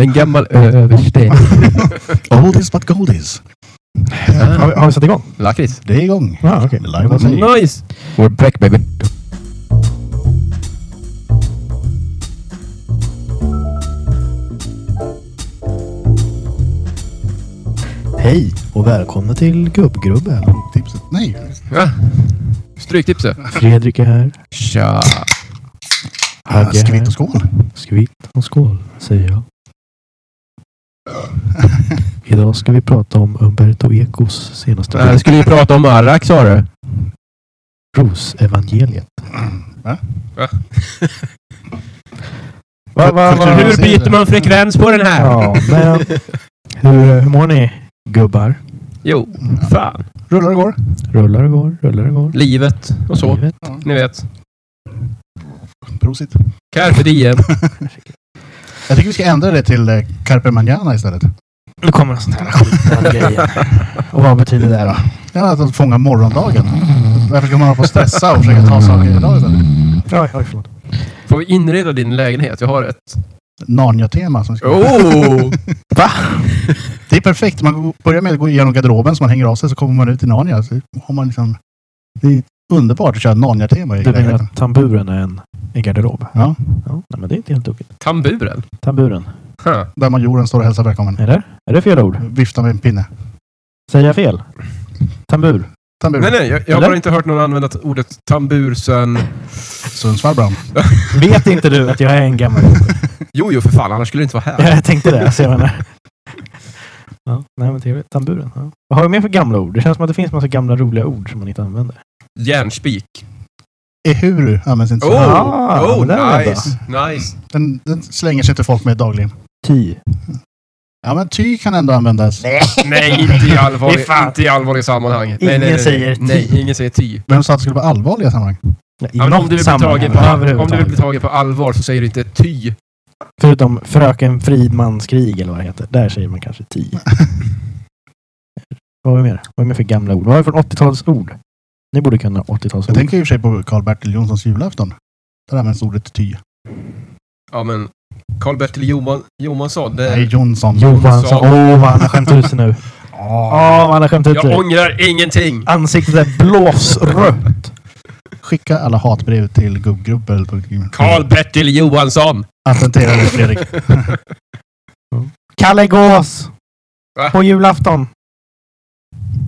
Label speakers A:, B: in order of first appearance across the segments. A: En gammal överste.
B: Oldies but goldies.
C: Har, vi- har vi satt igång?
A: Lakrits.
B: Det är igång.
C: Ja, okej.
B: Live on tape.
A: Nice! We're back baby.
C: Hej och välkomna till Gubbgrubben.
B: Tipset. Nej.
A: Ja. Stryktipset.
C: Fredrik är här.
A: Tja!
B: Ah,
C: Hagge
B: Skvitt
C: här.
B: och skål.
C: Skvitt och skål, säger jag. Idag ska vi prata om Umberto Ecos senaste
A: Äh,
C: bok,
A: skulle ju prata om Arak sa du.
C: Rosevangeliet.
B: Va?
A: Va, va, va,
B: Kultur-
A: hur byter man frekvens på den här?
C: Ja, men eh, hur, hur mår ni gubbar?
A: Jo, fan.
B: Rullar och går.
C: Rullar och går, rullar och går.
A: Livet och så.
C: Livet.
A: Ni vet.
B: Prosit.
A: Carpe diem.
B: Jag tycker vi ska ändra det till eh, Carpe Manana istället.
C: Nu kommer en sån här skitnödig grej igen. Och vad betyder det då?
B: Ja, att fånga morgondagen. Varför ska man hålla på och stressa och försöka ta saker idag istället?
C: Oj, oj, förlåt.
A: Får vi inreda din lägenhet? Jag har ett.
B: Narnia-tema. Som ska...
A: Oh!
B: Det är perfekt. Man går- börjar med att gå igenom garderoben så man hänger av sig så kommer man ut i Narnia. Så har man liksom... Det är underbart att köra Narnia-tema i
C: Du menar
B: lägenheten.
C: att tamburen är en, en garderob?
B: Ja,
C: Ja, nej, men det är inte helt tokigt.
A: Tamburen.
C: Tamburen.
A: Huh.
B: där majoren står och hälsar välkommen.
C: Eller? Är det fel ord?
B: Viftar med en pinne.
C: Säger jag fel? Tambur.
B: Tambur.
A: Nej, nej. Jag, jag har
C: Eller?
A: bara inte hört någon använda t- ordet tambur sen...
B: Sundsvall Brown.
C: Vet inte du att jag är en gammal
A: Jo, jo, för fan. Annars skulle du inte vara här.
C: Ja, jag tänkte det.
A: alltså,
C: Så jag menar. Ja, nej, men trevligt. Tamburen. Ja. Vad har vi mer för gamla ord? Det känns som att det finns massa gamla roliga ord som man inte använder.
A: Järnspik.
B: Ehuru används inte så.
A: Oh,
C: Ah,
A: oh
C: men där är det
A: nice, nice.
B: Den, den slänger sig till folk med dagligen.
C: Ti.
B: Ja, men ty kan ändå användas.
A: Nej, inte i
C: Det är
A: allvarlig,
C: fan-
A: inte i allvarlig sammanhang. Nej, nej,
C: Ingen
A: nej, nej.
C: säger ty.
A: Nej, ingen säger ty.
B: Vem sa att det skulle vara allvarliga sammanhang?
C: Nej, i
A: Ja, men
C: något
A: om, du vill bli
C: sammanhang
A: tagen på, all- om du vill
C: överhuvudtaget.
A: bli tagen på allvar så säger du inte ty.
C: Förutom Fröken Fridmans krig eller vad det heter. Där säger man kanske ti. vad har vi mer? Vad har vi mer för gamla ord? Vad har vi för 80-talsord? Ni borde kunna
B: Jag
C: 80-talsord.
B: tänker i och för sig på Karl-Bertil Jonssons julafton. Där används ordet
A: Eh.
B: ty.
A: Ja, men Karl-Bertil Johan, Johansson. Det,
B: Nej, Jonsson.
C: Johansson. Åh, oh, vad han har skämt ut sig nu. Åh,
B: Ah.
C: vad han har skämt ut
A: jag
C: sig.
A: ångrar ingenting.
C: Ansiktet är blåsrött.
B: Skicka alla hatbrev till gubbgrubbel.com.
A: Karl-Bertil Johansson.
B: Attentera Mm. dig Fredrik.
C: Kalle Gås!
A: Va?
C: På julafton.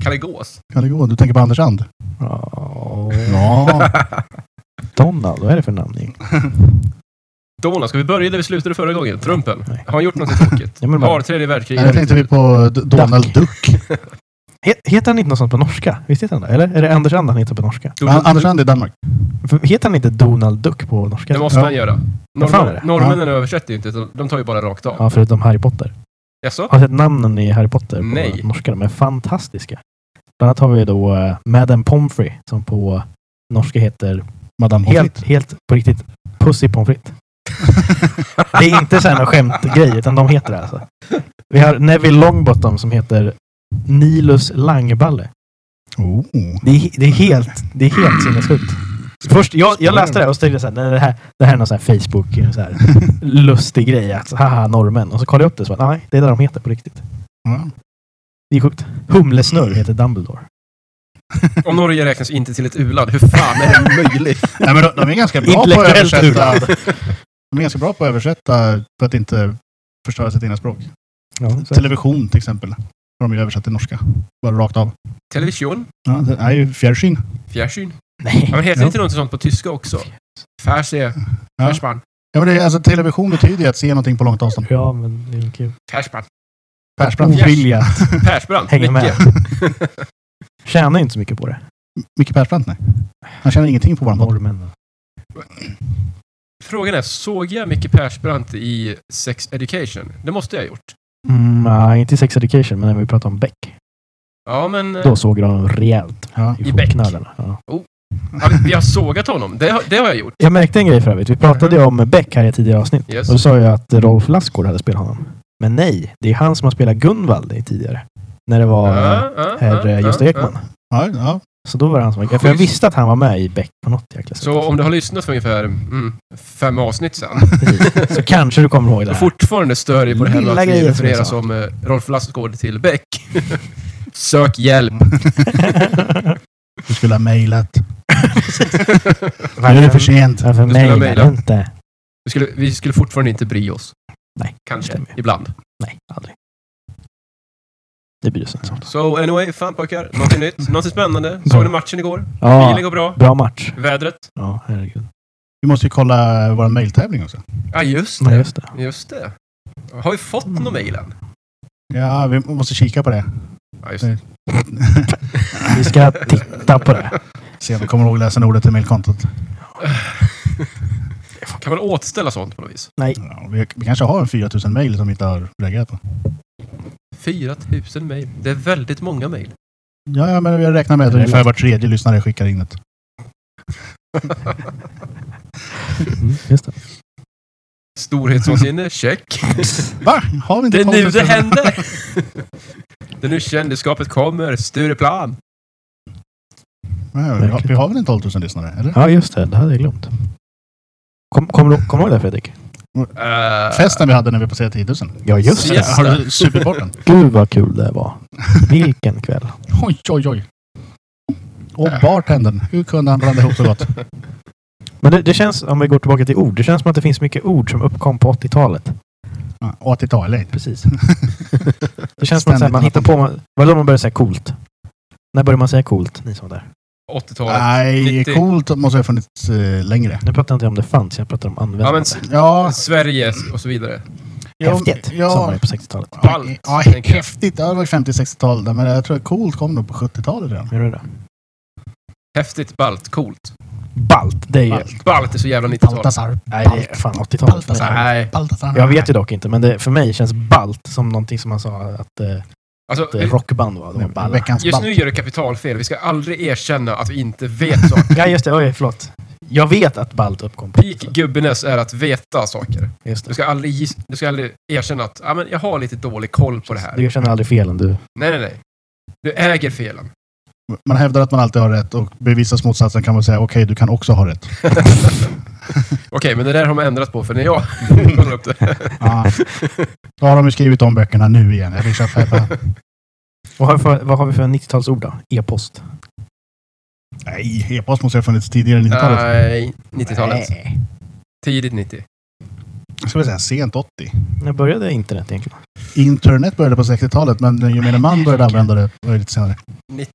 A: Kalle Gås.
B: Kan det gå? Du tänker på Anders And? Ja.
C: Donald, vad är det för namn? egentligen?
A: Donald, ska vi börja där vi slutade förra gången? Trumpen.
C: Nej.
A: Har han gjort något tokigt?
C: Ja, men vad-
A: Har tredje världskriget.
B: Nej, jag tänkte vi
C: typ-
B: på D- Donald Duck.
C: He- Heter han inte något sånt på norska? Visst heter han det? Eller är det Anders And han heter på norska?
B: An- Anders
A: Donald-
B: And i Danmark.
C: För heter han inte Donald Duck på norska?
A: Det måste
B: Ja.
A: man göra.
C: Vad fan är det?
A: Norr- Norrmännen översätter ju inte, utan de tar ju bara rakt av.
C: Ja, förutom Harry Potter.
A: Jaså?
C: Har du sett namnen i Harry Potter på
A: Nej.
C: norska? De är fantastiska. Bland annat har vi då eh, Madame Pomfrey som på norska heter
B: Madame
C: helt,
B: Helt.
C: helt på riktigt Pussy Pommes frites. Det är inte så här någon skämtgrej, utan de heter det alltså. Vi har Neville Longbottom som heter Nilus Langballe.
B: Oh.
C: Det är, det är helt, det är helt sinnessjukt. Först, jag, jag läste det och så tänkte jag så här, nej, det här, det här är någon så här Facebook, eh, så här lustig grej. Att, haha, norrmän. Och så kollade jag upp det och så bara, nej, det är det de heter på riktigt.
B: Ja.
C: Det är sjukt. Humlesnurr heter Dumbledore.
A: Om Norge räknas inte till ett u-land, hur fan är det möjligt?
B: Nej, men de, de är ganska bra på att
C: Intellektuellt
B: översätta. De är ganska bra på att översätta för att inte förstöra sitt egna språk.
C: Ja, så-
B: Television till exempel. Har de ju översatt till norska. Bara rakt av.
A: Television?
B: Ja, det är ju fjärrsyn.
A: Fjärsyn?
C: nej.
A: Ja, men heter
B: Ja.
A: inte något sånt på tyska också? Färse,
B: Ja.
A: färsman,
B: Ja, men det, är- alltså, television betyder ju att se någonting på långt avstånd.
C: Ja, men det är väl kul.
A: färsman,
B: Persbrandt.
C: Ovilja att
A: Persbrandt,
C: hänga med.
A: Micke.
C: Tjänar ju inte så mycket på det.
B: Micke Persbrandt, nej. Han känner ingenting på våran podd.
C: Norrmännen.
A: Frågan är, såg jag Micke Persbrandt i Sex Education? Det måste jag ha gjort.
C: Mm, nej, inte i Sex Education, men när vi pratade om Beck.
A: Ja, men... eh,
C: Då såg jag honom rejält
B: Ja.
C: i,
A: I Beck.
C: fotknölarna. Ja.
A: ja, men Jag har sågat honom. Det, har- det har jag gjort.
C: Jag märkte en grej för övrigt. Vi pratade ju om Beck här i ett tidigare avsnitt.
A: Yes.
C: Och då sa jag att Rolf Lassgård hade spelat honom. Men nej, det är han som har spelat Gunvald i tidigare. När det var eh,
A: Ja, ja,
C: herr
A: ja,
C: Gösta
A: ja,
C: Ekman.
B: Ja, ja.
C: Så då var det han som var För jag visste att han var med i Beck på något jäkla sätt.
A: Så om du har lyssnat för ungefär mm, fem avsnitt sen,
C: Precis. så kanske du kommer ihåg det
A: och
C: här.
A: fortfarande stör dig på det här med
C: Lilla
A: att vi
C: grejer som jag
A: refererar
C: sa.
A: som eh, Rolf Lassgård till Beck. Sök hjälp.
B: Du skulle ha mejlat. Nu är det för
C: Varför,
B: sent.
C: varför
A: Du skulle ha
C: mejlar du
A: mejlat.
C: inte?
A: Vi skulle, vi skulle fortfarande inte bry oss.
C: Nej,
A: Kanske,
C: stämmer.
A: ibland.
C: Nej, aldrig. Det bryr sig inte om.
A: So anyway, fan pojkar. Någonting nytt, någonting spännande. Såg ni matchen igår? Bilen
C: Ja,
A: går bra.
C: bra match.
A: Vädret?
C: Ja, herregud.
B: Vi måste ju kolla vår mejltävling också.
A: Ja, just
C: Nej,
A: det.
C: just det. Mm.
A: Just det. Har vi fått någon mejl än?
B: Ja, vi måste kika på det.
A: Ja, just det.
C: Vi ska titta på det.
B: Se om vi kommer ihåg läsa ordet till mejlkontot.
A: Kan man återställa sånt på något vis?
B: Ja, vi, vi kanske har 4000 mejl som vi inte har reagerat på.
A: 4000 mejl. Det är väldigt många mejl.
B: Ja, ja, men vi räknar med att ungefär var tredje lyssnare skickar in ett.
C: Mm, just det.
A: Storhetsvansinne, check.
B: Va? Har vi inte
A: Det är
B: tolv
A: nu det
B: stycken?
A: händer! Det är nu kändisskapet kommer. Stureplan.
B: Nej, vi, har, vi har väl en 12 000 lyssnare? Eller?
C: Ja, just det. Det hade jag glömt. Kom- Kommer du kommer du ihåg det Fredrik?
A: Eh,
B: Festen vi hade när vi passerade 10 000.
C: Ja, just det.
A: Yes.
B: Har du supit bort den?
C: Gud vad kul det var. Vilken kväll.
B: Oj, oj, oj. Och bartendern. Hur kunde han blanda ihop så gott?
C: Men det, det känns, om vi går tillbaka till ord, det känns som att det finns mycket ord som uppkom på 80-talet.
B: Ja, Och att det tar lite.
C: Precis. Det känns som att så här,
B: Ständigt
C: man hittar på... Man, var det då man började säga coolt? När började man säga coolt, ni som var där?
B: Ah,
A: 80-talet.
B: Nej,
A: 90.
B: coolt måste ha funnits eh, längre.
C: Nu pratar jag inte om det fanns, jag pratar om
A: Ja, men
C: användandet.
A: s-
B: Ja,
A: Sverige och så vidare.
B: ja,
C: Häftigt, som var
B: Ja,
C: det på 60-talet.
B: ja,
A: ballt,
B: ja,
A: tänker jag.
B: häftigt. Ja, Det var 50-60-tal. där, Men jag tror att coolt kom nog på 70-talet redan.
C: Hur är det?
A: Häftigt, ballt, coolt.
C: Balt, det är ju...
A: Ballt, ballt är så jävla 90-tal.
B: Baltasar.
C: Nej, det är alltså. fan 80-talet. för mig.
B: Baltasar.
A: Nej,
B: Baltasar.
C: Jag vet ju dock inte, men det, för mig känns balt som någonting som man sa att eh,
A: alltså...
C: det rockband var. De var balla.
B: Veckans
A: Just
B: ball.
A: nu gör du kapitalfel. Vi ska aldrig erkänna att vi inte vet saker.
C: Ja, just det. Oj, förlåt. Jag vet att balt uppkom på
A: Peak gubbenäs är att veta saker.
C: Just det.
A: Du ska aldrig, gis- du ska aldrig erkänna att ah, men jag har lite dålig koll på det här.
C: Du känner aldrig felen du.
A: Nej, nej, nej. Du äger felen.
B: Man hävdar att man alltid har rätt och bevisas motsatsen kan man säga okej, du kan också ha rätt.
A: Okej, men det där har man ändrat på för när jag kollade upp det.
B: Ja. Då har de ju skrivit om böckerna nu igen. Jag vill köpa ett-
C: Vad har vi för, vad har vi för 90-talsord då? E-post?
B: Nej, e-post måste ju ha funnits tidigare än 90-talet.
A: Nej, 90-talet.
C: Nej.
A: Tidigt 90.
B: Ska vi säga sent 80?
C: När började internet egentligen?
B: Internet började på 60-talet, men gemene man började använda det var ju lite senare.
A: 90,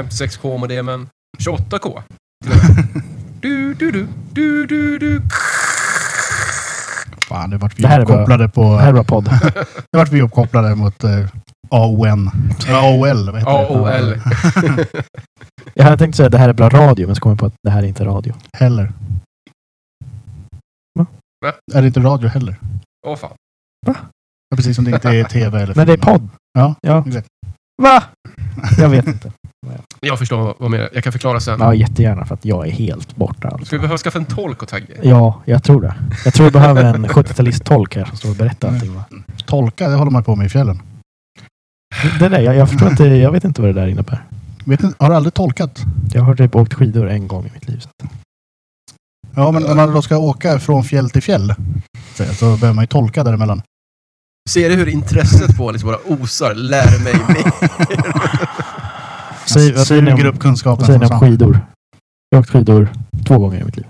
A: 56K-modemen. 28K. till och med. Du, du, du, du, du, du.
B: Fan, det vart vi
C: Det här är bara-
B: uppkopplade
C: Det här
B: på...
C: var podd.
B: Det vart vi uppkopplade mot eh, AON. AOL, vad heter
A: AOL.
B: det?
C: Jag hade tänkt säga att det här är bra radio, men så kom jag på att det här är inte radio.
B: Heller.
C: Va?
A: Va?
B: Är det inte radio heller?
A: Åh fan.
B: Ja, Precis som det inte är tv eller
C: Men det är
B: film.
C: podd.
B: Ja,
C: ja.
B: exakt.
C: Va? Jag vet inte.
A: Jag förstår vad- vad menar. Jag kan förklara sen.
C: Ja, jättegärna för att jag är helt borta. Alltså.
A: Ska vi behöva skaffa en tolk åt Tagge?
C: Ja, jag tror det. Jag tror vi behöver en 70-talist-tolk här som står och berättar allting. Va?
B: Tolka, det håller man på med i fjällen.
C: Det där, jag, jag förstår inte. Jag vet inte vad det där innebär.
B: Vet ni, har du aldrig tolkat?
C: Jag har typ åkt skidor en gång i mitt liv. Så. att-
B: Ja, men när man då ska åka från fjäll till fjäll så, så behöver man ju tolka däremellan.
A: Ser du hur intresset på liksom bara osar? Lär mig mer.
C: Säg, vad säger ni
B: Suger
C: om,
B: upp kunskapen.
C: vad säger ni
B: som
C: om
B: fan.
C: skidor? Jag har åkt skidor två gånger i mitt liv.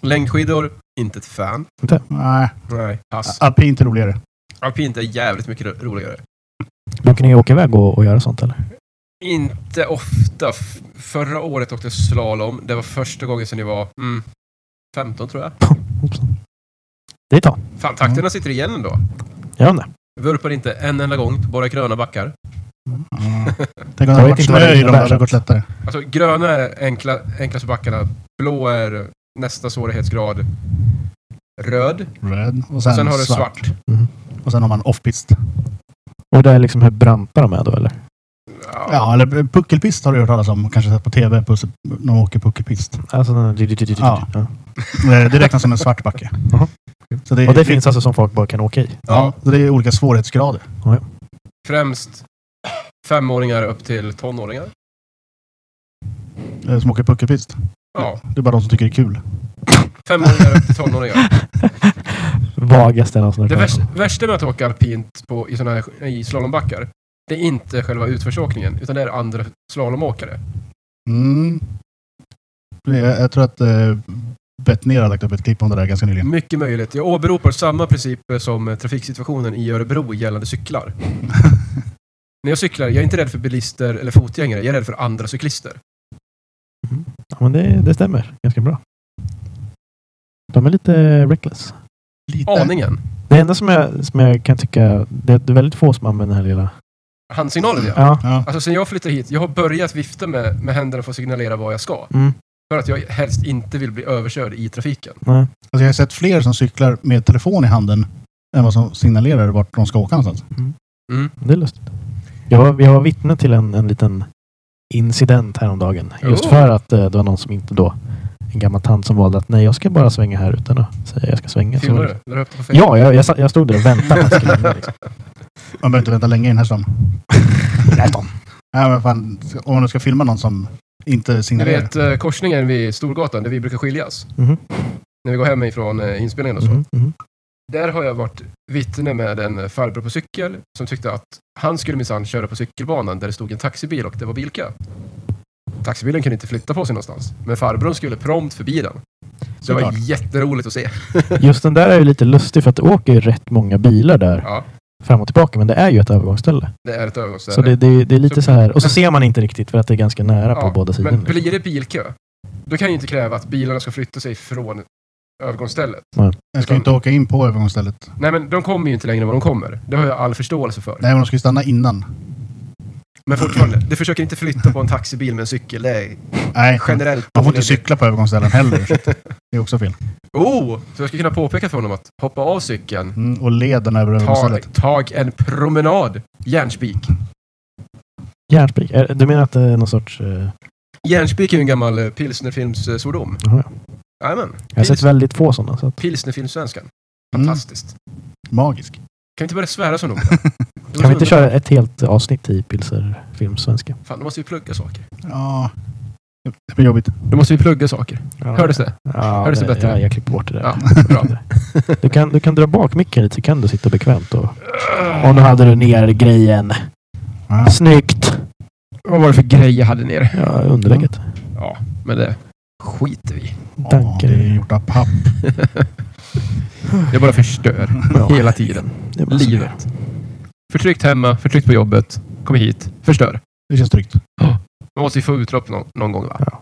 A: Längdskidor, inte ett fan.
B: Nej,
A: Nej. Pass.
B: alpint är roligare.
A: Alpint är jävligt mycket ro- roligare.
C: Brukar ni åka iväg och, och göra sånt eller?
A: Inte ofta. F- Förra året åkte jag slalom. Det var första gången sedan jag var mm, 15 tror jag.
C: Hoppsan. Det är ett tag.
A: Fan,
C: Mm.
A: takterna sitter igen ändå.
C: Gör de det?
A: Vurpar inte en enda gång på bara gröna backar.
B: Mm. Tänk om det
C: Jag
B: hade
C: vet
B: varit
C: inte vad det
B: snö i de
C: innebär,
B: där så hade det gått
C: så
B: lättare.
A: Alltså gröna är enkla, enklaste backarna. Blå är nästa svårighetsgrad. Röd. Sen,
B: Red. Och sen,
A: sen har du
B: svart.
A: svart.
B: Och sen har man offpist.
C: Och det är liksom hur branta de är då eller?
B: Ja, eller puckelpist har du hört talas om. Kanske sett på tv på, när de åker puckelpist.
C: Alltså, den här-
B: Ja. Eh, Det räknas som en svart backe.
C: Jaha.
B: Så det,
C: Och det finns alltså som folk bara kan åka i?
B: Ja, så det är olika svårighetsgrader.
A: Främst femåringar upp till tonåringar.
B: eh, som åker puckelpist.
A: Ja,
B: Det är bara de som tycker det är kul.
A: femåringar upp Mm, till tonåringar.
C: Vagaste jag någonsin hört
A: Det
C: talas
A: värsta,
C: om.
A: värsta med att åka alpint på, i, såna här, i slalombackar, det är inte själva utförsåkningen, utan det är andra slalomåkare.
B: Mm. Jag, jag tror att eh, Bettner har lagt upp ett klipp om det där ganska nyligen.
A: Mycket möjligt. Jag åberopar samma principer som eh, trafiksituationen i Örebro gällande cyklar. Mm. När jag cyklar, jag är inte rädd för bilister eller fotgängare, jag är rädd för andra cyklister.
C: Ja, men det, det stämmer ganska bra. De är lite reckless.
B: Lite.
A: Aningen.
C: Det enda som jag, som jag kan tycka, det, det är väldigt få som använder den här lilla...
A: Handsignalen, ja.
C: Ja.
B: Ja.
A: Alltså sen jag flyttade hit, jag har börjat vifta med, med händerna för att signalera vad jag ska.
C: Mm.
A: För att jag helst inte vill bli överkörd i trafiken.
C: Nej.
B: Alltså, jag har sett fler som cyklar med telefon i handen än vad som signalerar vart de ska åka någonstans.
C: Mm.
A: Mm.
C: Det är lustigt. Jag var, jag var vittne till en, en liten incident häromdagen. Just
A: Oh.
C: för att eh, det var någon som inte då... En gammal tant som valde att nej, jag ska bara svänga här utan att säga jag ska svänga. Så var
A: Filmar
C: det-
A: du? Lär upp det på Facebook?
C: Ja, jag, jag, sa- jag stod där och väntade. på att det skulle hända, liksom.
B: Man behöver inte vänta länge i den här stan. Nej, men fan, om du ska filma någon som inte
A: Ni
B: signalerar.
A: vet eh, korsningen vid Storgatan, där vi brukar skiljas.
C: Mhm.
A: När vi går hem ifrån eh, inspelningen och Mm-hmm. så.
C: Mhm, mhm.
A: Där har jag varit vittne med en eh, farbror på cykel som tyckte att han skulle minsann köra på cykelbanan där det stod en taxibil och det var bilkö. Taxibilen kunde inte flytta på sig någonstans, men farbrorn skulle prompt förbi den. Så det var
B: Såklart.
A: jätteroligt att se.
C: Just den där är ju lite lustig för att det åker ju rätt många bilar där
A: Ja,
C: fram och tillbaka. Men det är ju ett övergångsställe.
A: det är ett övergångsställe.
C: Så det, det, det är lite
A: Så-
C: så här. Och så ser man inte riktigt för att det är ganska nära
A: Ja,
C: på båda sidorna.
A: Men
C: liksom.
A: blir det bilkö, då kan jag ju inte kräva att bilarna ska flytta sig från övergångsstället.
B: Jag ska ju inte åka in på övergångsstället.
A: Nej, men de kommer ju inte längre än vad de kommer. Det har jag all förståelse för.
B: Nej, men de ska ju stanna innan.
A: Men fortfarande, det försöker inte flytta på en taxibil med en cykel. Det är
B: Nej,
A: generellt
B: man får inte
A: dålig-
B: cykla på övergångsställen heller. så det är också fel.
A: Oh! Så jag skulle kunna påpeka för honom att hoppa av cykeln,
B: Mm, och leden över
A: ta,
B: övergångsstället.
A: tag en promenad. Järnspik.
C: Järnspik? Är- Du menar att det är någon sorts... eh,
A: Järnspik är ju en gammal eh, pilsnerfilmssvordom.
C: jaha, ja.
A: Jajamän.
C: jag har sett
A: Pils,
C: väldigt få sådana. Så att,
A: pilsnerfilmssvenskan.
B: Mm.
A: Fantastiskt.
B: Magisk.
A: Kan vi inte börja svära som dem?
C: kan vi inte köra ett helt avsnitt i Pilser svenska?
A: Fan, då måste vi plugga saker.
B: Ja, det blir jobbigt.
A: Då måste vi plugga saker. Hördes det?
C: Ja,
A: Hördes det bättre?
C: Ja, jag klipper bort det där.
A: Ja, bra.
C: Du, kan, du kan dra bak micken lite så kan du sitta bekvämt. Och, och nu hade du ner grejen.
B: Ja.
C: Snyggt!
A: Vad var det för grej jag hade nere?
C: Ja, underlägget.
A: Ja, men det skiter vi i.
B: Ja, det är gjort av papp.
A: Jag bara förstör.
C: Ja.
A: Hela tiden.
C: Det är bara så.
A: Livet. Förtryckt hemma, förtryckt på jobbet. Kommer hit, förstör.
B: Det känns tryggt.
A: Man måste ju få utlopp någon, någon gång va?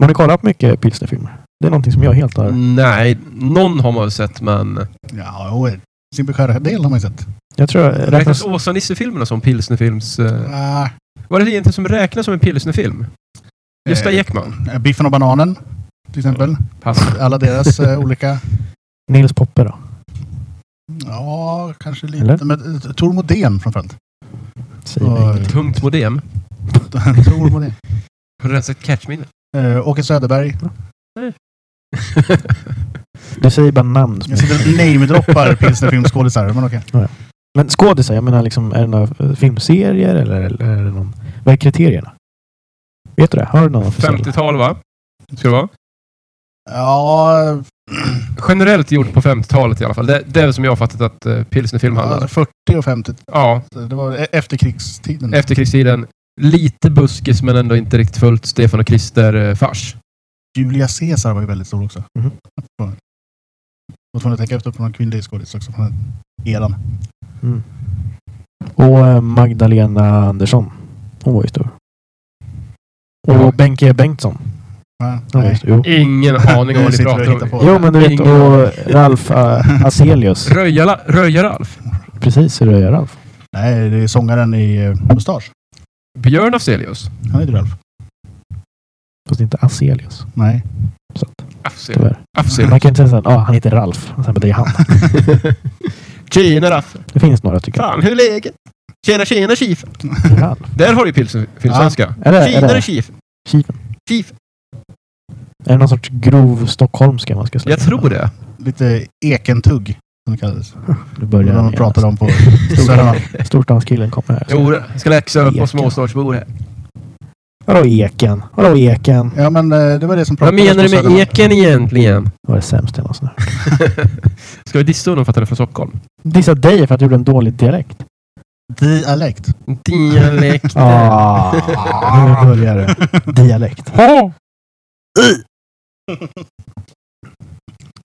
C: Har ni kollat på mycket pilsnerfilmer? Det är någonting som jag helt har...
B: Mm.
A: Nej, någon har man väl sett men...
B: Ja, jo, Simpel skära-del har man ju sett.
C: Jag tror... jag
A: Räknas
C: Räknas...
A: Åsa-Nisse-filmerna som pilsnerfilms... eh,
B: Ah,
A: Vad är det egentligen som räknas som en pilsnerfilm? Gösta Ekman?
B: eh, Biffen och bananen, till exempel.
A: Pass.
B: Alla deras eh, olika...
C: Nils Poppe då?
B: Ja, kanske lite.
C: Eller?
B: Men eh, Tor Modén framförallt.
C: Säger mig
B: Oj.
C: ingenting.
A: Tungt modem.
B: Tor Modén.
A: Har du rensat catchminne?
B: Eh, Åke Söderberg.
C: Du säger bara namn. som
B: Jag
C: jag-
B: sitter och namedroppar pilsnerfilmsskådisar, men okej.
C: Men skådisar, jag menar liksom, är det några filmserier eller, eller är det någon... Vad är kriterierna? Vet du det? Har du någon officiell?
A: 50-tal va? Ska det vara?
B: Ja,
A: Generellt gjort på 50-talet i alla fall. Det, det är väl som jag har fattat att eh, pilsnerfilm handlar
B: alltså
A: om.
B: 40 och 50.
A: Ja,
B: Det mm. var e- efterkrigstiden.
A: efterkrigstiden. Lite buskis men ändå inte riktigt fullt Stefan och eh, Krister-fars.
B: Julia Caesar var ju väldigt stor också.
C: Mhm.
B: Jag var tvungen att tänka efter på någon kvinnlig skådis också från den eran.
C: Och eh, Magdalena Andersson. Hon var ju stor. Och
A: Ja.
C: Bengt G Bengtsson.
B: Ja,
C: Hon var ju
B: nej.
C: stor. Jo.
A: Ingen aning om vad ni
B: Sitter och
A: pratar
B: hittar
A: om.
B: på.
C: jo, men du vet.
A: Ingen-
C: Och Ralf uh, Hazelius.
A: Röja- Röja-Ralf?
C: Precis, hur röjer Ralf?
B: nej, det är sångaren i eh, Mustasch.
A: Björn Afzelius?
B: Han heter Ralf.
C: Fast inte Hazelius.
B: Nej.
C: Så att,
A: Afzelius.
C: tyvärr. Man kan ju inte säga att ah, han heter Ralf. Och Sen bara, det är han.
A: Tjena Raffe!
C: Det finns några tycker jag.
A: Fan, hur är läget? Tjena, tjena Chifen!
C: Ralf.
A: Där har du ju pilsen- filmsvenska.
C: Är det, är
A: Tjenare
C: det
A: Chifen!
C: Kiven?
A: Chief.
C: Är det någon sorts grov stockholmska man ska slänga?
A: Jag tror det.
B: Lite ekentugg, som det kallades.
C: Nu börjar
B: Vad
C: han
B: de
C: igen.
B: pratade om på Södermalm.
C: Storstadskillen kommer här.
A: Jo, jag ska läxa upp oss småstadsbor här.
C: Vadå eken? Vadå eken?
B: Ja, men eh, det var det som
A: Vad
B: pratades
A: menar du
B: på
A: med
B: Södermalm.
A: eken egentligen?
C: Det var det sämsta jag någonsin hört.
A: Ska vi dissa honom för att han är från Stockholm?
C: Dissa dig för att du gjorde en dålig dialekt.
B: Dialekt.
A: Dialekt.
C: Ah, nu börjar det. Dialekt.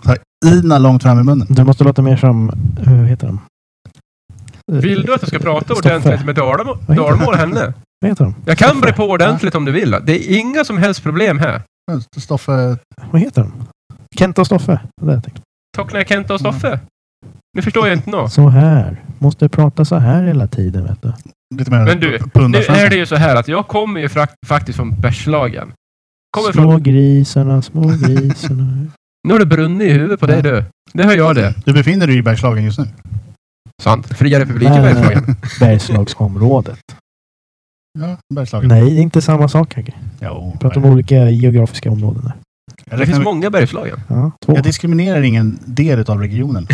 B: Så här, Ina långt fram i munnen.
C: Du måste låta mer som... Hur heter de?
A: Vill du att jag ska prata
C: Stoffe.
A: ordentligt med Dalamo-
C: Vad heter
A: Dalmål och henne?
C: Vad heter de?
A: Jag kan bre på ordentligt om du vill. Det är inga som helst problem här.
B: Stoffe...
C: Vad heter de? Kenta och Stoffe. Det där jag tänkte.
A: Tocklar jag Kenta och Stoffe? Nu förstår jag inte nå.
C: Så här. Måste prata så här hela tiden, vet du.
B: Lite mer
A: Men du, Nu är det ju så här att jag kommer ju frakt- faktiskt från Bergslagen. Kommer
C: små
A: från...
C: grisarna, små grisarna.
A: Nu har det brunnit i huvudet på dig du. Det hör jag det.
B: Du befinner dig i Bergslagen just nu.
A: Sant. Fria republiken
C: Nej.
A: Bergslagen.
C: Bergslagsområdet.
B: Ja, Bergslagen.
C: Nej, det är inte samma sak Hagge.
B: Jo,
C: Vi pratar om olika geografiska områden där.
B: jag,
A: Det finns
B: räknar,
A: många Bergslagen.
C: Ja, två.
B: jag diskriminerar ingen del av regionen.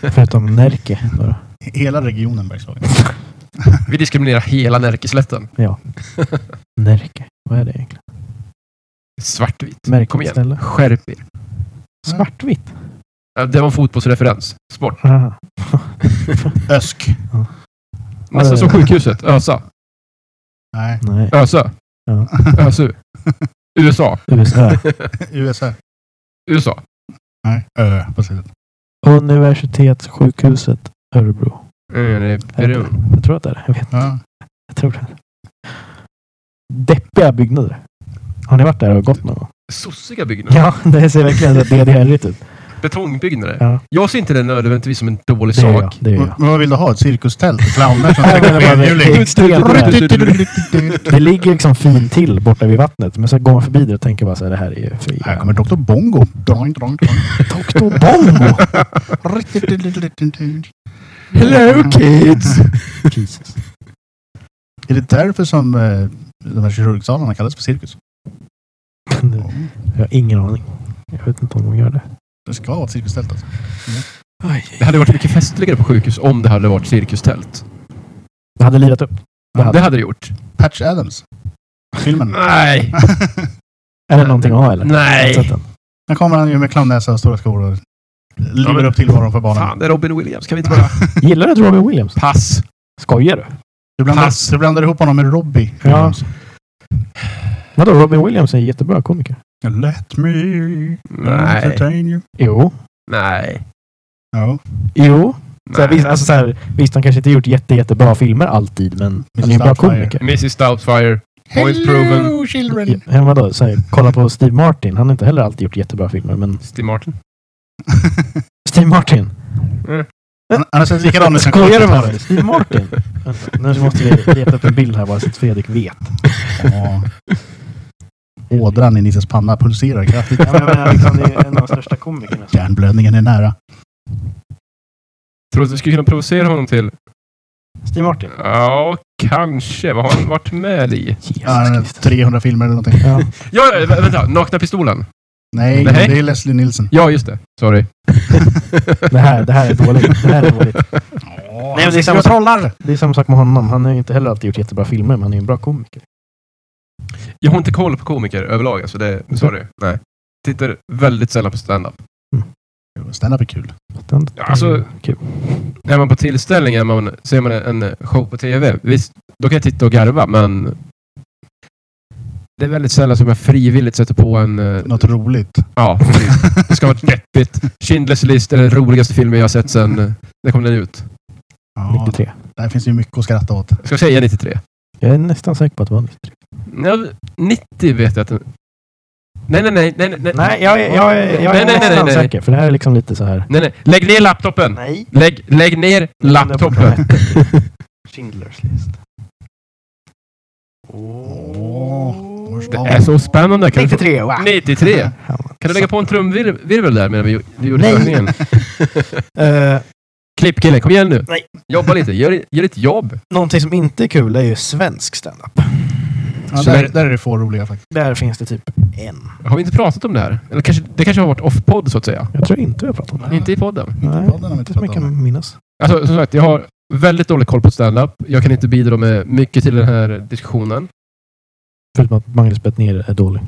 C: Förutom Närke. Då då.
B: Hela regionen Bergslagen.
A: Vi diskriminerar hela Närkeslätten.
C: Närke. Vad är det egentligen?
A: Svartvitt. Kom
C: Märkligt
A: igen.
C: ställe.
A: Skärp er.
C: Svartvitt.
A: Ja, Äh, Det var en fotbollsreferens. Sport.
C: Aha.
B: Ösk.
A: Nästan
C: det-
A: Alltså, som sjukhuset. ÖSA.
B: Nej,
C: Nej.
A: ÖSÖ.
C: Ja.
A: ÖSU. USA.
C: USA.
B: USA.
A: USA.
B: Nej, Ö på slutet.
C: Universitetssjukhuset Örebro.
A: Mm, det är
C: Örebro.
A: Peru.
C: Jag tror att det är det. Jag vet inte.
B: Ja.
C: Jag tror det. Deppiga byggnader. Har ni varit där och gått någon gång?
A: Sossiga byggnader.
C: Ja, det ser verkligen så DDR-igt ut.
A: Betongbyggnader.
C: Ja.
A: Jag ser inte det nödvändigtvis som en dålig
C: Det gör jag. Alltså,
A: sak.
C: Det gör jag.
B: Men vad vill du ha? Ett cirkustält? Clowner som
C: Jag menar bara, det
B: skenhjuling?
C: är extremt där. Det ligger liksom fint till borta vid vattnet, men så går man förbi det och tänker bara så här, det här är ju för
B: Här kommer Dr. Bongo. Droing, droing, droing.
C: Dr. Bongo!
B: Hello,
C: kids! Jesus.
B: Är det därför som eh, de här kirurgsalarna kallas för cirkus?
A: Mm.
C: Jag har ingen aning. Jag vet inte om de gör det.
B: Det ska vara ett cirkustält alltså.
A: Det hade varit mycket festligare på sjukhus om det hade varit cirkustält.
C: Det hade lirat upp. Det hade.
A: Det hade det gjort.
B: Patch Adams. Filmen.
A: Nej!
C: Är det någonting att ha eller?
A: Nej.
C: Har du sett den?
B: Här kommer han ju med clownnäsa och stora skor och
A: Ja,
B: lever
A: men-
B: upp tillvaron för barnen.
A: Fan, det är Robin Williams. Kan vi inte bara...
C: Gillar du inte Robin Williams?
A: Pass.
C: Skojar du?
B: Du blandar,
A: Pass.
B: du blandar ihop honom med Robbie.
C: Ja. Vadå, Robin Williams är en jättebra komiker.
B: Let me
A: Nej.
C: Mm.
B: entertain you.
C: Jo.
A: Nej.
B: Ja.
C: Jo. Så här,
A: Nej.
C: visst, alltså, så här, visst, han kanske inte gjort jätte, jättebra filmer alltid, men han är en bra
B: Doubtfire.
C: komiker.
A: Mrs Doubtfire. Points proven.
B: children.
C: Ja, vadå, så här, kolla på Steve Martin. Han har inte heller alltid gjort jättebra filmer, men
A: Steve Martin.
C: Steve Martin.
B: Han han har sett likadan ut sen
C: Skojar du med
B: 70-talet.
C: mig? Steve Martin? Vänta, Nu måste vi leta upp en bild här bara så att Fredrik vet.
B: Ja. Ådran i Nisses panna pulserar kraftigt.
C: liksom, största komikerna.
B: Hjärnblödningen är nära.
A: Tror du att vi skulle kunna provocera honom till...
C: Steve Martin?
A: Ja, kanske. Vad har han varit med i?
C: Jesus
B: Ja,
C: Kristus.
B: 300 filmer eller någonting.
C: Ja.
A: Ja, ja, vä- vänta. Nakna pistolen.
B: Nej,
A: Nej.
B: det är Leslie Nielsen.
A: Ja, just det. Sorry.
C: Det, här, det här är dåligt. Det här är dåligt.
B: Nej,
C: det är samma-
B: trollar!
C: Det är samma sak med honom. Han har ju inte heller alltid gjort jättebra filmer, men han är ju en bra komiker.
A: Jag har inte koll på komiker överlag, alltså det... Sorry. Nej. Tittar väldigt sällan på stand-up.
B: Stand-up är kul.
C: Den,
A: Ja, alltså-
C: kul.
A: Är man på tillställning, är man, ser man en show på TV, visst, då kan jag titta och garva, men... Det är väldigt sällan som jag frivilligt sätter på en... eh,
B: Något roligt.
A: Ja, precis. det ska vara deppigt. Schindler's list är den roligaste filmen jag har sett sen... eh, När kom den ut?
B: Ja,
C: 93.
B: där finns ju mycket att skratta åt.
A: Jag ska säga 93.
C: Jag är nästan säker på att det var 93.
A: Ja, 90 vet jag att den... Nej, nej, nej, nej, nej, nej,
C: Nej, jag, är- jag, är- jag är
A: Nej, nej, nej,
C: nästan
A: nej, nej.
C: säker. För det här är liksom lite så här...
A: nej, nej. Lägg ner laptopen!
C: Nej.
A: Lägg, lägg ner laptopen!
C: Schindler's list.
B: Åh.
A: Det är så spännande. Kan du få...
C: 93, wow.
A: 93! Ah. Kan du lägga på en trumvirvel där medan vi gjo- vi gjorde
C: Nej.
A: övningen?
C: Eh,
A: Klipp kille, kom igen nu!
C: Nej.
A: Jobba lite, gör, gör ditt jobb!
C: Någonting som inte är kul är ju svensk standup.
B: Ja,
A: Så
B: där,
A: länge-
B: där är det få roliga faktiskt.
C: Där finns det typ en.
A: Har vi inte pratat om det här? Eller kanske, det kanske har varit off-podd så att säga?
C: Jag tror inte vi har pratat om det.
A: Inte i podden.
C: Nej,
B: podden har vi
C: inte
B: inte
C: som jag
B: pratat om.
C: kan minnas.
A: Alltså, som sagt, jag har väldigt dålig koll på stand-up. Jag kan inte bidra med mycket till den här diskussionen.
C: Förutom att Magnus Bettner är dålig.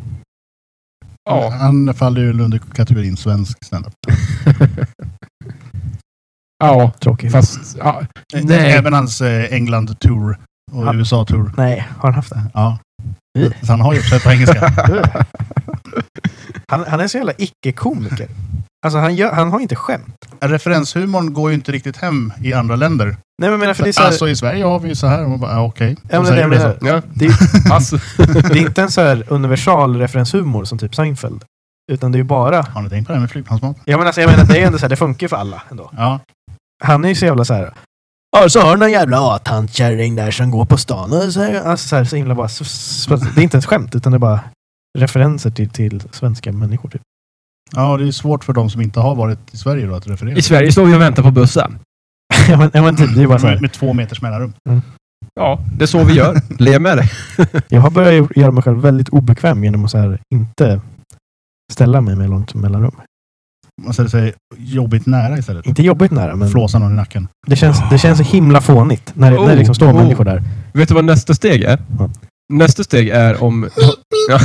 A: Ja,
B: Han faller ju under kategorin svensk standup.
A: ja
C: Tråkig.
A: fast... Ja,
B: Nej.
A: Nej.
B: Även hans eh, England Tour och
C: Ja.
B: USA Tour.
C: Nej, har han haft det?
B: Ja.
C: Mm.
B: Så han har ju uppsett på engelska.
C: Han, han är så jävla icke-komiker. Alltså han, gör, han har inte skämt.
B: Referenshumorn går ju inte riktigt hem i andra länder.
C: Nej men jag menar för det är så här,
B: Alltså i Sverige har vi ju så här. Och man bara, ja, okej.
C: Ja, men
B: Så
C: det
B: är
C: jag
B: det
C: menar.
B: så.
A: ja. alltså.
C: Det-
A: Pass.
C: det är inte en så här universal referenshumor som typ Seinfeld. Utan det är ju bara...
B: Har ni tänkt på det här med flygplansmat?
C: Ja, men alltså, jag menar det är ändå så här, det funkar ju för alla ändå.
B: Ja.
C: Han är ju så jävla så här... Ja, så har du någon jävla A-tantkärring där som går på stan och så här, alltså, så, här, så himla bara... s- s- Det är inte ens skämt utan det är bara referenser till, till svenska människor. Typ.
B: Ja, och det är svårt för de som inte har varit i Sverige då att referera.
A: I Sverige står vi och väntar på bussen.
C: ja, men, ja, men typ, det är bara så
B: med,
C: här.
B: med två meters mellanrum.
A: Ja, det är så vi gör. Le med det.
C: Jag har börjat göra mig själv väldigt obekväm genom att så här, inte ställa mig med långt mellanrum.
B: Man ställer sig jobbigt nära istället.
C: Inte jobbigt nära, men
B: Flåsa någon i nacken.
C: det känns, det känns så himla fånigt när det, när det liksom står
A: Oh, oh.
C: människor där.
A: Vet du vad nästa steg är?
C: Ja.
A: Nästa steg är om... Ja.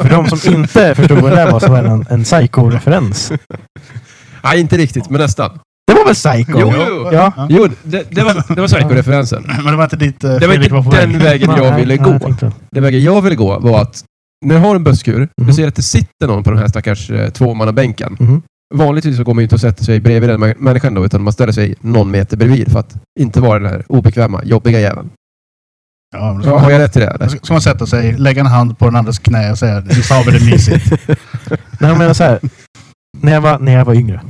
C: För de som inte förstod vad det där var så var det en, en psycho-referens.
A: Nej, inte riktigt, men nästan.
C: Det var väl psycho?
A: Jo, jo.
C: Ja.
A: Jo, det, det var, det var psykoreferensen.
B: Men det var inte dit eh,
A: Det var
B: Fredrik var på
A: inte
B: väg.
A: den vägen
C: Nej,
A: jag ville
C: nej,
A: gå.
C: jag tänkte-
A: Den vägen jag ville gå var att när jag har en busskur,
C: Mhm.
A: du ser att det sitter någon på den här stackars eh, tvåmannabänken.
C: Mhm.
A: Vanligtvis så går man ju inte och sätter sig bredvid den mä- människan då, utan man ställer sig någon meter bredvid för att inte vara den här obekväma, jobbiga jäveln.
B: Ja, men då ska
A: Ja,
B: man-
A: har jag rätt i det? Eller?
B: Ska man sätta sig, lägga en hand på den andres knä och säga du sa väl det mysigt?
C: Nej, jag menar så här. När jag, var, när jag var yngre,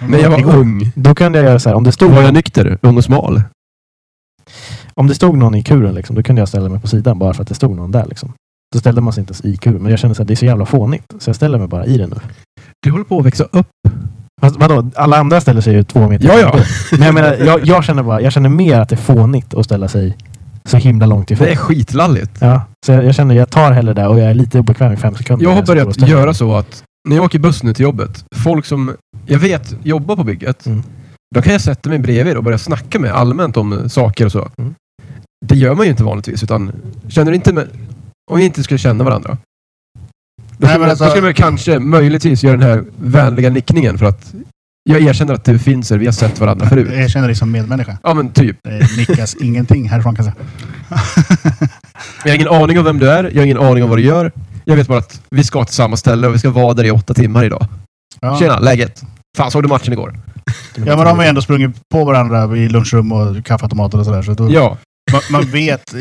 A: När jag var ung,
C: då kunde jag göra så här. Om det stod,
A: var jag nykter, ung och smal.
C: om det stod någon i kuren, liksom, då kunde jag ställa mig på sidan bara för att det stod någon där. Liksom. Då ställde man sig inte ens i kuren. Men jag kände att det är så jävla fånigt, så jag ställer mig bara i den nu.
A: Du håller på att växa upp.
C: Fast vadå, alla andra ställer sig ju två meter
A: Ja, ja.
C: ifrån. Men jag menar, jag, jag känner bara, jag känner mer att det är fånigt att ställa sig så himla långt ifrån.
A: Det är skitlalligt.
C: Ja, så jag, jag känner, jag tar hellre det och jag är lite obekväm i fem sekunder.
A: Jag har
C: Jag står och
A: börjat
C: ställer
A: göra
C: mig.
A: så att när jag åker buss nu till jobbet, folk som jag vet jobbar på bygget,
C: Mm.
A: då kan jag sätta mig bredvid och börja snacka med allmänt om eh, saker och så.
C: Mm.
A: Det gör man ju inte vanligtvis, utan känner du inte med, om vi inte skulle känna varandra, då
B: Nej,
A: skulle,
B: men
A: man,
B: alltså-
A: då skulle man kanske möjligtvis göra den här vänliga nickningen för att jag erkänner att du finns här, vi har sett varandra förut.
B: Jag känner dig som medmänniska.
A: Ja men typ.
B: Det nickas ingenting härifrån kan jag säga.
A: Jag har ingen aning om vem du är, jag har ingen aning om vad du gör. Jag vet bara att vi ska till samma ställe och vi ska vara där i åtta timmar idag.
B: Ja.
A: Tjena, läget? Fan, såg du matchen igår?
B: ja, men de har ju ändå sprungit på varandra i lunchrum och kaffeautomater och sådär. Så då,
A: Ja.
B: man, man, vet,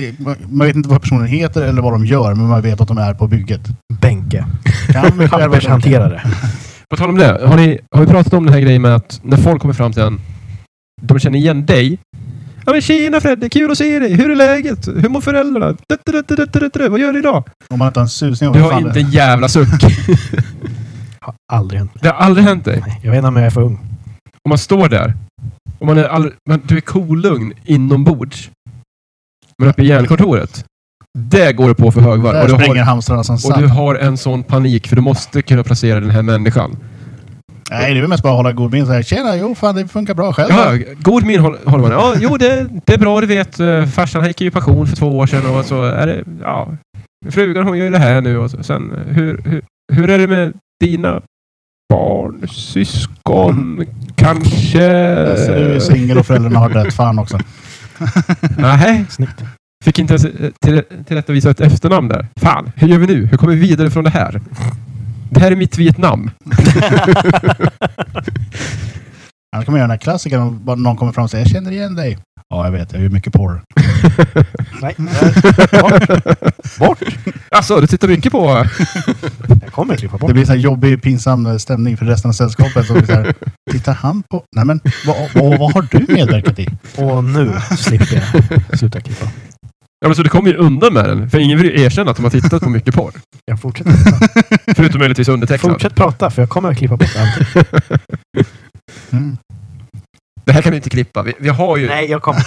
B: man vet inte vad personen heter eller vad de gör, men man vet att de är på bygget.
C: Bänke.
B: Kan mycket väl vara olika.
C: Pappershanterare.
A: På tal om det, har, ni, har vi pratat om den här grejen med att när folk kommer fram till en, de känner igen dig. Ja men tjena Fredde, kul att se dig. Hur är läget? Hur mår föräldrarna? Du, du, du, du, du, du, du. Vad gör du idag?
B: Om man inte har en susning om
A: Du
B: vad
A: har
B: fan
A: inte
B: det är.
A: en jävla suck.
C: Har aldrig hänt mig.
A: Det har aldrig hänt dig.
C: Nej, Jag vet inte om jag är för ung.
A: Om man står där. Om man är all, men du är kolugn inombords. Men uppe i hjärnkontoret. Det går du på för högvarv.
B: Där
A: Och du,
B: springer
A: har,
B: hamstrarna som
A: och du
B: sand.
A: har en sån panik för du måste kunna placera den här människan.
B: Nej, det är väl mest bara att hålla god min. Så här, Tjena, jo fan det funkar bra själv.
A: Ja, god min håll- håller man. Ja, jo, det, det är bra, du vet. Eh, Farsan han gick ju i pension för två år sedan och så är det, ja. Frugan hon gör ju det här nu och så, sen eh, hur, hur, hur är det med dina barn, syskon, kanske?
B: Så du är singel och föräldrarna har dött. Fan också.
A: Nej,
C: Snyggt.
A: fick inte ens eh, till, tillrättavisa ett efternamn där. Fan, hur gör vi nu? Hur kommer vi vidare från det här? Det här är mitt Vietnam.
B: Annars kan man göra den här klassikern om bara någon kommer fram och säger jag känner igen dig. Ja, jag vet. Jag är ju mycket porr.
C: Nej,
A: Bort! Alltså, du tittar mycket på...
C: jag kommer klippa bort.
B: Det blir så här jobbig, pinsam stämning för resten av sällskapet. Så blir det så här, tittar han på... Nej men, vad, vad, vad har du medverkat i?
C: Och nu slipper jag. Sluta klippa.
A: Ja, men så du kommer ju undan med den. För ingen vill ju erkänna att de har tittat på mycket porr.
C: Jag fortsätter.
A: Förutom möjligtvis undertecknad.
C: Fortsätt prata, för jag kommer att klippa bort allt.
B: Mm.
A: Det här kan vi inte klippa. Vi, vi har ju...
C: Nej, jag kommer.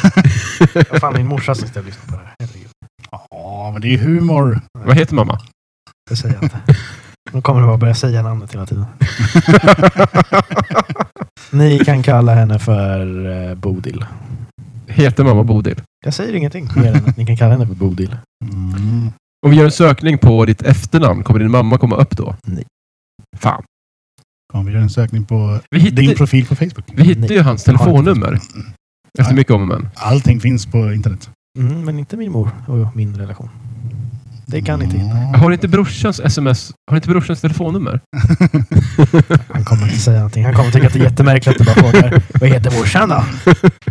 C: Jag fan, min morsa sitter och lyssnar på det här. Herregud.
B: Ja, men det är ju humor.
A: Vad heter mamma?
C: Det säger jag inte. Nu kommer du bara börja säga namnet hela tiden. Ni kan kalla henne för eh, Bodil.
A: heter mamma Bodil?
C: Jag säger ingenting mer än att ni kan kalla henne för Bodil.
B: Mm.
A: Om vi gör en sökning på ditt efternamn, kommer din mamma komma upp då?
C: Nej.
A: Fan.
B: Kom, vi gör en sökning på
A: Vi hittade,
B: din profil på Facebook.
A: vi hittade ju hans telefonnummer. Efter
B: Nej.
A: mycket om och men.
B: Allting finns på internet.
C: Mm, men inte min mor och min relation. Det kan inte hindra.
B: Ja.
A: Har inte brorsans sms... Har inte brorsans telefonnummer?
C: Han kommer inte säga någonting. Han kommer tycka att det är jättemärkligt att du bara frågar Vad heter morsan då?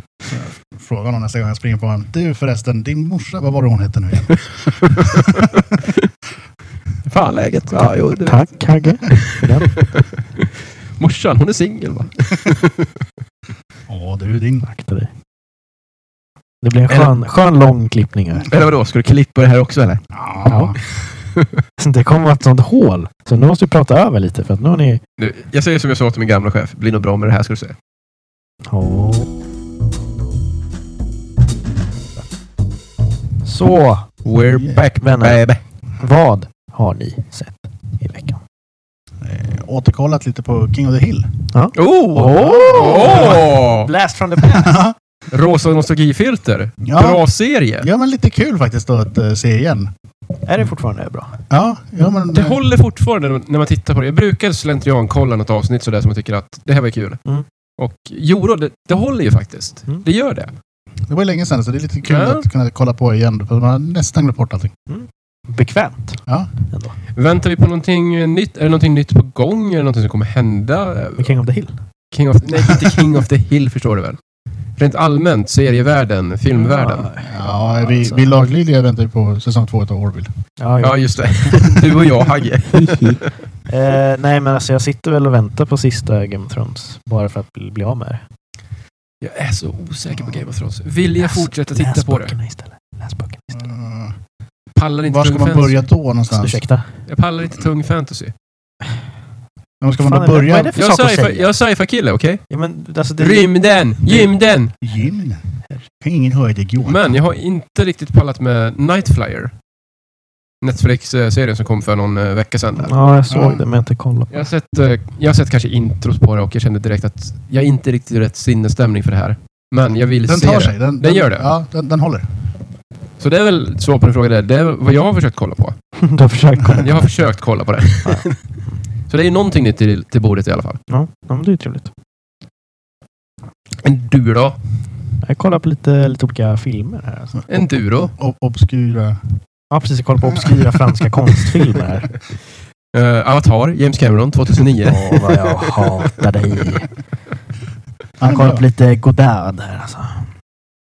B: Fråga honom nästa gång jag springer på honom. Du förresten, din morsa, vad var det hon hette nu igen?
A: Fan läget? Ja, jo, det
C: Tack Hagge. för den.
A: Morsan, hon är singel va?
B: Ja du, din.
C: Akta dig. Det blir en skön, skön lång klippning här.
A: Eller vadå, ska du klippa det här också eller?
B: Ja.
C: Så Det kommer vara ett sånt hål. Så nu måste vi prata över lite för att nu har ni...
A: Nu, jag säger som jag sa till min gamla chef. Blir nog bra med det här ska du se.
C: Ja. Så,
A: We're
B: Yeah.
A: back
C: vänner.
A: baby.
C: Vad har ni sett i veckan?
B: Eh, Återkollat lite på King of the Hill.
A: Oh!
C: Åh!
A: Åh!
C: Blast from the past.
A: Rosa nostalgifilter.
B: ja,
A: Bra serie.
B: ja, men lite kul faktiskt då att eh, se igen.
C: Är det fortfarande bra?
B: Ja, ja men...
A: Det håller fortfarande när man tittar på det. Jag brukar slentriankolla något avsnitt sådär som jag tycker att det här var kul.
C: Mm.
A: Och jo, då, det, det håller ju faktiskt.
C: Mm.
A: Det gör det.
B: Det var ju länge sedan så det är lite kul
A: Ja.
B: att kunna kolla på igen. För man har nästan glömt bort allting.
C: Bekvämt.
B: Ja.
C: Ändå.
A: Väntar vi på någonting nytt? Är det någonting nytt på gång? Är det någonting som kommer hända?
C: Med King of the Hill.
A: King of, nej, inte King of the Hill förstår du väl? Rent allmänt, serievärlden, filmvärlden.
B: Ja, vi,
C: alltså.
B: vi laglydiga väntar ju på säsong två av Orville.
C: Ja,
A: Ja, just det. Du och jag, Hagge.
C: Eh, nej, men alltså jag sitter väl och väntar på sista Game of Thrones. Bara för att bli, bli av med det.
A: Jag är så osäker på Game of Thrones. Vill jag
C: Läs-
A: fortsätta titta
C: läs
A: på det?
C: böckerna Istället. Läs böckerna istället.
B: Mm.
A: Pallar inte
B: Var ska
A: tung
B: man
A: fantasy.
B: börja då någonstans?
C: Ursäkta.
A: Jag pallar inte tung fantasy.
B: Men ska man
C: Fan,
B: då
C: vad är
B: börja...
C: det för
A: Jag
C: sak att
A: sci-fi-
C: säga?
A: jag är sci-fi-kille, okej?
C: Ja, men, alltså, det,
A: Rymden! Rymden!
B: Gymmen. Kan ingen höra det Johan.
A: Men jag har inte riktigt pallat med Nightflyer. Netflix-serien som kom för någon eh, vecka sedan. Där.
C: Ja, jag såg
B: Ja.
C: det, men jag har inte kollat på
A: Jag, har sett, eh, jag har sett kanske intros på det och jag kände direkt att jag är inte riktigt i rätt sinnesstämning för det här. Men jag vill
B: Den
A: se
B: tar
A: det.
B: sig. Den,
A: Den gör det.
B: Ja, den, den håller.
A: Så det är väl svar på din fråga där. Det är vad jag har försökt kolla på.
C: det. Du har försökt kolla.
A: Jag har försökt kolla på det.
C: Ja.
A: Så det är ju någonting nytt till, till bordet i alla fall.
C: Ja, ja, men det är ju trevligt.
A: En du då?
C: Jag kollar på lite, lite olika filmer här. Alltså.
A: En du då?
B: O- obskura.
C: Ja, precis. Jag kollar på obskyra franska konstfilmer här.
A: Eh, Avatar, James Cameron, 2009.
C: Åh, vad jag hatar dig.
B: Han
C: Jag kollar på
B: är
C: lite Godard där alltså.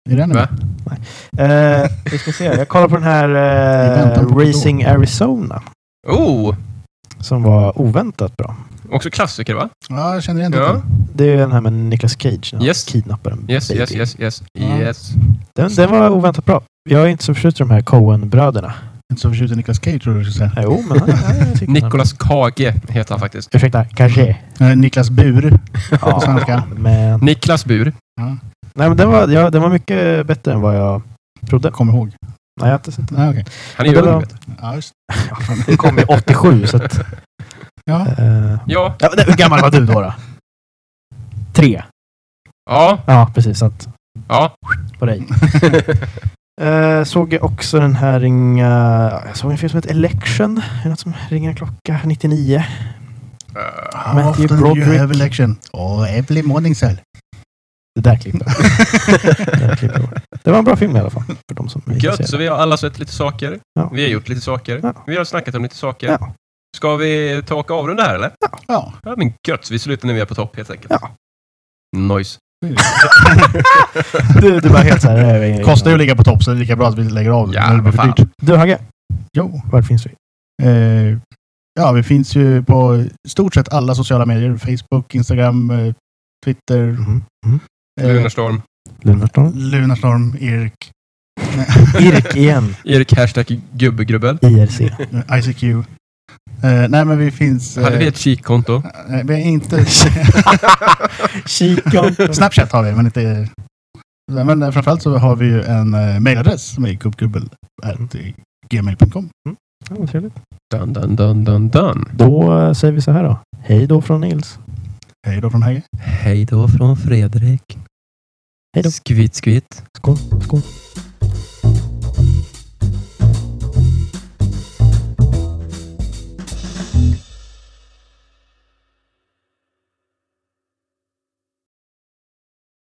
B: den
A: Va?
B: med?
C: Eh, vi ska se. Jag kollar på den här
B: I väntan
C: eh,
B: på
C: Racing Arizona.
A: Oh!
C: Som var oväntat bra.
A: Också klassiker va?
B: Ja, jag känner igen
A: Ja.
B: titeln.
C: Det är ju den här med Nicolas Cage. När han
A: Yes.
C: kidnappar en
A: Yes,
C: baby.
A: yes, yes, yes.
B: Ja.
A: yes.
C: Den, den var oväntat bra. Jag är inte så förtjust i de här Coen-bröderna.
B: Inte så förtjust i Nicolas Cage tror jag du skulle säga.
C: Eh, Jo, men han, jag tycker han-
A: Nicolas Kage heter han faktiskt.
C: Ursäkta, kanske.
B: Eh, Niklas Bur.
C: Ja,
B: svenska.
C: Men,
A: Niklas Bur.
C: nej, men den, var, ja, den var mycket bättre än vad jag trodde.
B: Kommer ihåg.
C: Nej, jag har inte sett den.
B: Ja, okej.
A: Han är ju
C: Men det
A: ung.
C: var-
A: vet du.
B: Ja, just.
C: Ja, fan, Den kom ju 87, så att...
B: Ja.
C: eh,
A: Ja.
C: ja, men hur gammal var du då? då? Tre.
A: Ja.
C: Ja, precis. Så att,
A: Ja.
C: på dig. Eh, såg jag också den här ringa... Jag såg en film som heter Election. Är det något som ringer en klocka? 99.
A: Eh,
B: How
C: Matthew
B: often do you
C: Broderick.
B: have election? Oh, every morning sir.
C: Det där klipper jag. Det där klipper jag bort. Det var en bra film i alla fall. För de som är
A: Mm. Gött,
C: intresserade.
A: så vi har alla sett lite saker.
C: Ja.
A: Vi har gjort lite saker.
C: Ja.
A: Vi har snackat om lite saker.
C: Ja.
A: Ska vi ta och avrunda här eller?
B: Ja.
A: Ja, men gött. Vi slutar när vi är på topp helt enkelt.
C: Ja.
A: Nice.
C: Du, du bara helt så här... eh,
B: Kostar ju att ligga på topp så det är lika bra att vi lägger av det
A: Ja,
B: när det blir för
A: vad
B: dyrt.
C: Du Hagge,
B: Jo.
C: var finns vi?
B: Eh, ja, vi finns ju på i stort sett alla sociala medier. Facebook, Instagram, eh, Twitter.
A: Mm,
C: Mm.
B: Eh,
A: Lunarstorm.
C: Lunarstorm.
B: Lunarstorm, Erik,
C: Irk igen.
A: Erik hashtag gubbegrubbel.
C: IRC.
B: ICQ. Eh, nej, men vi finns...
A: Hade
B: eh,
A: vi ett kikkonto?
B: nej, vi är inte...
C: Kikon.
B: Snapchat har vi, men inte... Nej, Men eh, framförallt så har vi ju en eh, mailadress som är gubbgubbel.gmail.com.
A: Dun, dun, dun, dun, dun.
C: Då eh, säger vi så här då. Hej då från Nils.
B: Hej då från Hagge.
A: Hej då från Fredrik.
C: Hej då.
A: Skvitt, skvitt.
C: Skål. Skål.